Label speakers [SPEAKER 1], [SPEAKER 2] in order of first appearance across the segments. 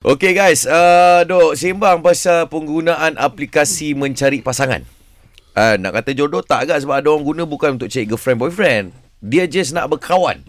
[SPEAKER 1] Okay guys, uh, dok sembang pasal penggunaan aplikasi mencari pasangan. Uh, nak kata jodoh tak agak sebab ada orang guna bukan untuk cari girlfriend boyfriend. Dia just nak berkawan.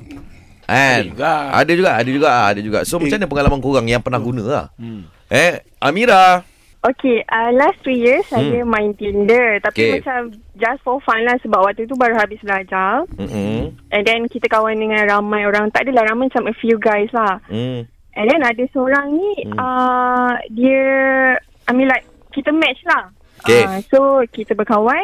[SPEAKER 1] Kan?
[SPEAKER 2] Ada juga.
[SPEAKER 1] Ada juga, ada juga, ah, ada juga. So macam mana pengalaman korang yang pernah guna lah? Hmm. Eh, Amira.
[SPEAKER 3] Okay, uh, last two years hmm. saya main Tinder. Tapi
[SPEAKER 1] Okay.
[SPEAKER 3] okay. macam just for fun lah sebab waktu tu baru habis belajar.
[SPEAKER 1] Hmm, Mm-mm.
[SPEAKER 3] And then kita kawan dengan ramai orang. Tak adalah ramai macam a few guys lah.
[SPEAKER 1] Mm.
[SPEAKER 3] And then ada seorang ni, hmm. uh, dia, I mean like, kita match lah.
[SPEAKER 1] Okay.
[SPEAKER 3] Uh, so, kita berkawan.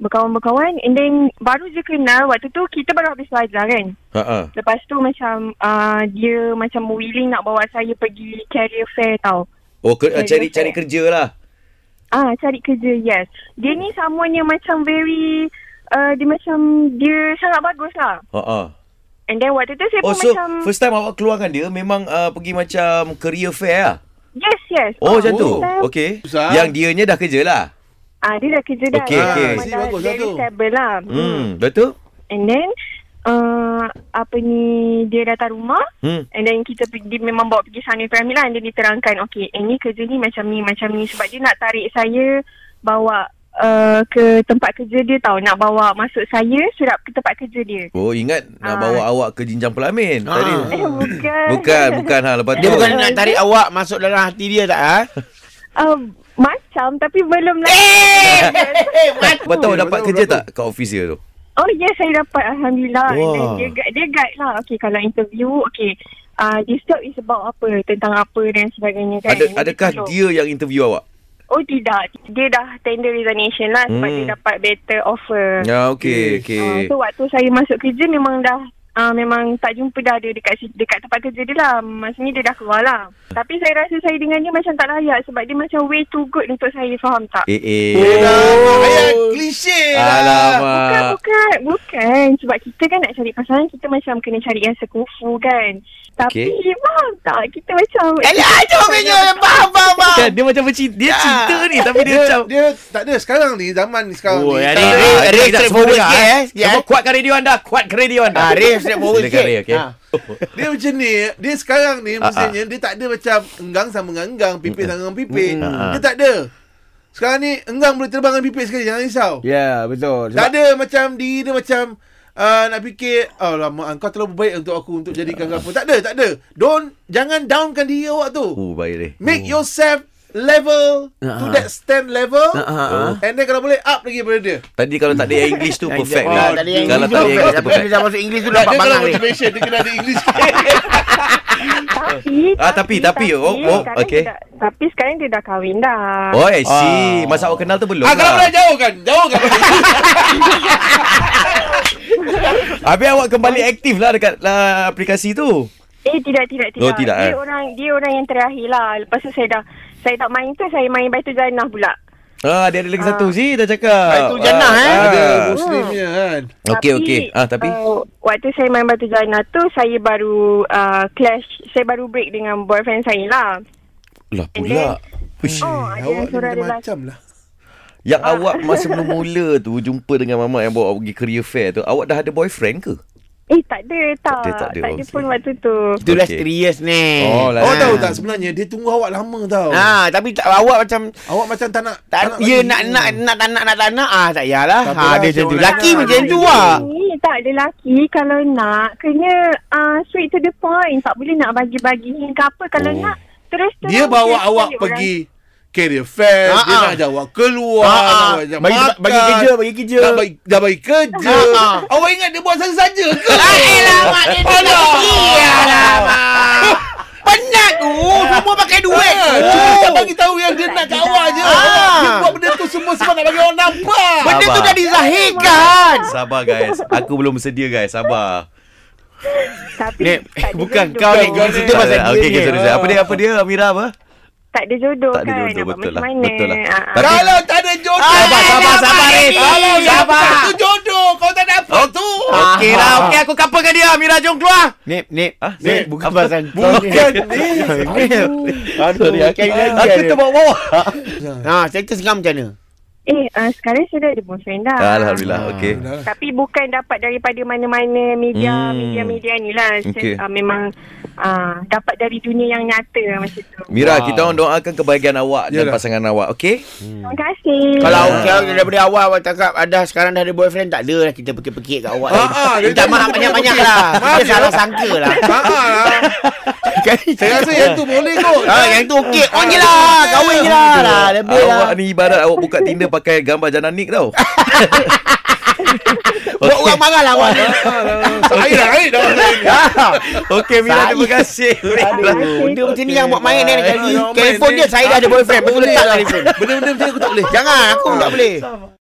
[SPEAKER 3] Berkawan-berkawan. And then, baru je kenal. Waktu tu, kita baru habis belajar kan.
[SPEAKER 1] Ha-ha.
[SPEAKER 3] Lepas tu macam uh, dia macam willing nak bawa saya pergi career fair tau.
[SPEAKER 1] Oh, ke, uh, cari
[SPEAKER 3] Cari girlfriend.
[SPEAKER 1] cari kerja lah.
[SPEAKER 3] Ah cari kerja yes. Dia ni samanya macam very uh, dia macam dia sangat bagus lah.
[SPEAKER 1] Ha-ha.
[SPEAKER 3] And then waktu tu saya
[SPEAKER 1] Oh,
[SPEAKER 3] pun
[SPEAKER 1] so
[SPEAKER 3] macam
[SPEAKER 1] first time awak keluar dengan dia memang uh, pergi macam career fair lah?
[SPEAKER 3] yes yes.
[SPEAKER 1] Oh, macam tu?
[SPEAKER 3] first time,
[SPEAKER 1] Okay.
[SPEAKER 2] Susah.
[SPEAKER 1] Yang dianya dah kerja lah?
[SPEAKER 3] Ah dia dah kerja dah.
[SPEAKER 1] Okay,
[SPEAKER 3] Dia
[SPEAKER 1] okay.
[SPEAKER 3] memang
[SPEAKER 2] Si
[SPEAKER 3] dah
[SPEAKER 2] bagus lah
[SPEAKER 3] very
[SPEAKER 2] tu.
[SPEAKER 3] stable lah.
[SPEAKER 1] Hmm, betul?
[SPEAKER 3] And then uh, apa ni dia datang rumah
[SPEAKER 1] Hmm.
[SPEAKER 3] And then kita pergi, dia memang bawa pergi sana Pyramid lah. And then diterangkan, okay, eh, ni kerja ni macam ni, macam ni. Sebab dia nak tarik saya bawa uh, ke tempat kerja dia tau. Nak bawa masuk saya surat ke tempat kerja dia.
[SPEAKER 1] Oh ingat nak
[SPEAKER 3] Ah.
[SPEAKER 1] bawa awak ke jinjang pelamin
[SPEAKER 2] Ah.
[SPEAKER 1] tadi.
[SPEAKER 3] Eh, bukan.
[SPEAKER 1] Bukan, bukan ha lepas tu.
[SPEAKER 2] Dia bukan nak tarik awak masuk dalam hati dia tak ha?
[SPEAKER 3] Uh, macam tapi belum lah.
[SPEAKER 1] Eh! Lepas tu awak dapat
[SPEAKER 2] Betul,
[SPEAKER 1] kerja
[SPEAKER 2] betul.
[SPEAKER 1] tak kat office dia tu?
[SPEAKER 3] Oh yes saya dapat Alhamdulillah
[SPEAKER 1] Wah.
[SPEAKER 3] wow. Dan dia, guide- dia guide lah Okay kalau interview Okay uh, This job is about apa Tentang apa dan sebagainya kan
[SPEAKER 1] Ada
[SPEAKER 3] Dia
[SPEAKER 1] adakah
[SPEAKER 3] tolong.
[SPEAKER 1] dia yang interview awak?
[SPEAKER 3] Oh tidak Dia dah tender resignation lah Sebab
[SPEAKER 1] Hmm.
[SPEAKER 3] dia dapat better offer
[SPEAKER 1] Ya okey
[SPEAKER 3] Ah,
[SPEAKER 1] okey.
[SPEAKER 3] so waktu saya masuk kerja memang dah uh, memang tak jumpa dah dia dekat si- dekat tempat kerja dia lah. Maksudnya dia dah keluar lah. Tapi saya rasa saya dengan dia macam tak layak sebab dia macam way too good untuk saya faham tak?
[SPEAKER 1] Eh eh.
[SPEAKER 2] Ayah klise lah.
[SPEAKER 3] Bukan,
[SPEAKER 1] Alamak.
[SPEAKER 3] bukan, bukan. Sebab kita kan nak cari pasangan, kita macam kena cari yang sekufu kan. Tapi
[SPEAKER 1] Okey. Eh,
[SPEAKER 3] faham tak? Kita macam...
[SPEAKER 2] Alah, jom Benyo. Faham, faham, faham.
[SPEAKER 1] Kan dia macam bercinta, dia cinta ni tapi Eh, dia macam
[SPEAKER 4] dia tak ada sekarang ni zaman ni sekarang
[SPEAKER 2] Oh,
[SPEAKER 4] ni.
[SPEAKER 2] ya,
[SPEAKER 4] tak-
[SPEAKER 2] ni- ni-
[SPEAKER 4] Ah,
[SPEAKER 2] Ray, Ray straightforward sikit, eh. Sikit,
[SPEAKER 1] Semua
[SPEAKER 2] eh.
[SPEAKER 1] kuatkan radio anda, kuatkan radio anda.
[SPEAKER 2] Ah, Ray straightforward
[SPEAKER 1] Silakan,
[SPEAKER 2] sikit.
[SPEAKER 1] Ray, okey.
[SPEAKER 2] Ah.
[SPEAKER 4] Ha. dia macam ni, dia sekarang ni
[SPEAKER 1] Ah,
[SPEAKER 4] mestinya dia tak ada macam enggang sama dengan enggang, pipit sama dengan pipit.
[SPEAKER 2] Mm,
[SPEAKER 1] Ah, ah.
[SPEAKER 4] Dia tak ada. Sekarang ni enggang boleh terbang dengan pipit sekali, jangan risau.
[SPEAKER 2] Ya, betul.
[SPEAKER 4] Tak ada macam diri dia macam uh, nak fikir Alamak kau terlalu baik untuk aku Untuk jadikan kau apa Tak ada tak ada Don't Jangan downkan diri awak tu
[SPEAKER 1] Oh baik Ray.
[SPEAKER 4] Make yourself level uh-huh. To that stand level
[SPEAKER 2] Ah,
[SPEAKER 4] uh-huh. And then kalau boleh up lagi daripada dia
[SPEAKER 1] Tadi kalau tak ada yang English tu perfect.
[SPEAKER 2] Oh,
[SPEAKER 1] Ray.
[SPEAKER 2] tadi yang
[SPEAKER 1] lah. Kalau
[SPEAKER 2] English
[SPEAKER 1] tak ada yang English tu
[SPEAKER 2] tu Tapi
[SPEAKER 1] perfect.
[SPEAKER 2] dia dah masuk English tu lah, dapat
[SPEAKER 4] Dia kalau
[SPEAKER 2] bangang ni.
[SPEAKER 4] motivation Dia kena ada English
[SPEAKER 3] Tapi,
[SPEAKER 1] Ah, tapi, tapi, oh, oh,
[SPEAKER 3] sekarang
[SPEAKER 1] okey.
[SPEAKER 3] dia dah, tapi sekarang dia dah kahwin dah.
[SPEAKER 1] Oh, I see. Masa awak kenal tu belum.
[SPEAKER 4] Ah,
[SPEAKER 1] lah.
[SPEAKER 4] kalau boleh jauhkan Jauhkan
[SPEAKER 1] Habis awak kembali aktif lah dekat lah, aplikasi tu.
[SPEAKER 3] Eh tidak tidak tidak.
[SPEAKER 1] Oh, tidak,
[SPEAKER 3] Dia
[SPEAKER 1] eh?
[SPEAKER 3] orang dia orang yang terakhir lah. Lepas tu saya dah saya tak main tu saya main Baitul Jannah pula.
[SPEAKER 1] Ah, dia ada lagi
[SPEAKER 3] Ah.
[SPEAKER 1] satu si dah cakap.
[SPEAKER 2] Baitul Jannah, eh?
[SPEAKER 4] Ada muslimnya kan
[SPEAKER 1] Okey okey. Ah tapi
[SPEAKER 3] Uh, waktu saya main Batu Jana tu saya baru uh, clash, saya baru break dengan boyfriend saya lah.
[SPEAKER 1] lah
[SPEAKER 3] and
[SPEAKER 1] pula.
[SPEAKER 3] then-
[SPEAKER 1] Uish.
[SPEAKER 3] Oh, ada
[SPEAKER 4] Eh, Awak
[SPEAKER 3] yang
[SPEAKER 4] ni
[SPEAKER 3] surat dia lah.
[SPEAKER 4] macam lah
[SPEAKER 1] Yang awak masa mula-mula tu jumpa dengan mama yang bawa awak pergi career fair tu, awak dah ada boyfriend ke?
[SPEAKER 3] Eh tak ada tak.
[SPEAKER 1] ada,
[SPEAKER 3] Tak
[SPEAKER 1] tak
[SPEAKER 3] ada,
[SPEAKER 1] ada. Okay.
[SPEAKER 3] pun waktu tu.
[SPEAKER 2] Itu dah
[SPEAKER 1] Okey.
[SPEAKER 2] serius ni.
[SPEAKER 1] Oh, lah.
[SPEAKER 4] Awak
[SPEAKER 1] Ah.
[SPEAKER 4] tahu tak sebenarnya Dia tunggu awak lama tau
[SPEAKER 2] Kan. Ah, tapi tak, awak macam
[SPEAKER 4] Awak macam tak nak
[SPEAKER 2] tak,
[SPEAKER 4] lagi. Hmm.
[SPEAKER 2] ya nak nak nak tak nak nak tak nak ah tak yalah.
[SPEAKER 4] Tak
[SPEAKER 2] Ha
[SPEAKER 4] apalah,
[SPEAKER 2] dia macam tu.
[SPEAKER 4] tengok
[SPEAKER 2] Laki
[SPEAKER 4] lah.
[SPEAKER 2] macam tu
[SPEAKER 3] Ini-
[SPEAKER 2] ah.
[SPEAKER 3] Ini tak ada lelaki kalau nak kena uh, straight to the point. Tak boleh nak bagi-bagi ke apa kalau
[SPEAKER 1] Oh.
[SPEAKER 3] nak terus terang
[SPEAKER 4] Dia bawa
[SPEAKER 3] saya
[SPEAKER 4] awak
[SPEAKER 3] cari
[SPEAKER 4] pergi Career fair
[SPEAKER 2] Ah,
[SPEAKER 4] Dia
[SPEAKER 2] ah.
[SPEAKER 4] nak ajak awak keluar
[SPEAKER 2] Ah, ah.
[SPEAKER 4] nak awak ajak
[SPEAKER 2] Bagi-
[SPEAKER 4] lah. makan.
[SPEAKER 2] bagi kerja, bagi kerja.
[SPEAKER 4] Dah bagi, dah bagi
[SPEAKER 2] Ah,
[SPEAKER 4] kerja
[SPEAKER 2] ah. eh,
[SPEAKER 4] Awak ingat dia buat saja-saja ke?
[SPEAKER 2] Alamak dia tu nak pergi Alamak Penat tu Semua pakai duit tu
[SPEAKER 4] Ah, Cuma tak bagi tahu yang dia nak kat awak je
[SPEAKER 2] Ah.
[SPEAKER 4] Dia buat benda tu semua sebab nak bagi orang nampak
[SPEAKER 2] Benda tu
[SPEAKER 1] Sabar.
[SPEAKER 2] dah dizahirkan
[SPEAKER 1] Sabar guys. Aku belum sedia guys. Sabar.
[SPEAKER 3] orang. Tapi
[SPEAKER 2] Nek,
[SPEAKER 3] tak ada
[SPEAKER 2] bukan
[SPEAKER 3] jodoh.
[SPEAKER 2] kau, Nek. Kau cerita
[SPEAKER 1] Tak
[SPEAKER 2] pasal
[SPEAKER 1] ada.
[SPEAKER 2] dia
[SPEAKER 1] Okey
[SPEAKER 2] ni.
[SPEAKER 1] okey sorry. sorry. Apa dia apa dia Amira apa?
[SPEAKER 3] Tak ada jodoh
[SPEAKER 1] Tak ada
[SPEAKER 3] kan.
[SPEAKER 1] jodoh,
[SPEAKER 3] Nak buat
[SPEAKER 1] betul lah,
[SPEAKER 3] macam mana?
[SPEAKER 1] betul lah.
[SPEAKER 3] Ah, ah.
[SPEAKER 1] Tapi-
[SPEAKER 4] Kalau tak ada jodoh
[SPEAKER 2] Sabar,
[SPEAKER 4] Kalau
[SPEAKER 2] sabar, sabar, Riz.
[SPEAKER 4] yang
[SPEAKER 2] Ah, Sabar.
[SPEAKER 4] dapat tu jodoh Kau tak dapat tu
[SPEAKER 2] Okey lah, okey
[SPEAKER 1] aku kapalkan dia. Amira jom keluar.
[SPEAKER 2] Nip, Nip.
[SPEAKER 1] Ah, Nip.
[SPEAKER 2] Nip, bukan
[SPEAKER 1] Apa?
[SPEAKER 2] pasal kau ni.
[SPEAKER 4] Bukan
[SPEAKER 2] Nip. Aduh,
[SPEAKER 1] Sorry aku.
[SPEAKER 2] bukan
[SPEAKER 1] Aku
[SPEAKER 2] dia.
[SPEAKER 1] terbawa.
[SPEAKER 2] Ha, cerita seram macam mana?
[SPEAKER 3] Eh, uh, sekarang saya dah ada boyfriend dah. Ah.
[SPEAKER 1] Alhamdulillah. Okey.
[SPEAKER 4] Dah lah.
[SPEAKER 3] Tapi bukan dapat daripada mana-mana
[SPEAKER 1] Hmm.
[SPEAKER 3] media, hmm. media-media ni lah.
[SPEAKER 1] Okey.
[SPEAKER 3] Okay. Uh, memang uh, dapat dari dunia yang nyata lah macam tu.
[SPEAKER 1] Mira,
[SPEAKER 2] Wow.
[SPEAKER 1] kita orang doakan kebahagiaan awak dan
[SPEAKER 4] Yalah.
[SPEAKER 1] pasangan awak. Okey?
[SPEAKER 3] Terima kasih.
[SPEAKER 2] Kalau okey daripada awal awak cakap ada sekarang dah ada boyfriend tak ada lah kita pekik-pekik kat awak.
[SPEAKER 4] Ah, ah, dia
[SPEAKER 2] Minta
[SPEAKER 4] tak-
[SPEAKER 2] maaf banyak-banyak lah. Kita salah sangka lah.
[SPEAKER 4] Ha ah, lah.
[SPEAKER 1] Kan?
[SPEAKER 4] Saya rasa yang Kan? tu boleh kot.
[SPEAKER 2] Ah, yang tu okey. On je lah. Kahwin je lah. lah. Lebih lah.
[SPEAKER 1] Awak ni ibarat awak buka Tinder pakai gambar Jananik tau.
[SPEAKER 2] Buat orang marah lah awak.
[SPEAKER 4] Saya dah air lah, eh, dah.
[SPEAKER 1] Okey, Mira, Ah. terima kasih.
[SPEAKER 2] Aduh, Lah, benda macam ni yang buat main eh.
[SPEAKER 4] Jangan
[SPEAKER 2] Kali
[SPEAKER 4] main,
[SPEAKER 2] telefon
[SPEAKER 4] ni.
[SPEAKER 2] dia saya dah ada boyfriend. Betul
[SPEAKER 4] boleh
[SPEAKER 2] letak
[SPEAKER 4] lah.
[SPEAKER 2] telefon.
[SPEAKER 4] Benda-benda macam ni aku tak boleh.
[SPEAKER 2] Jangan, aku tak boleh.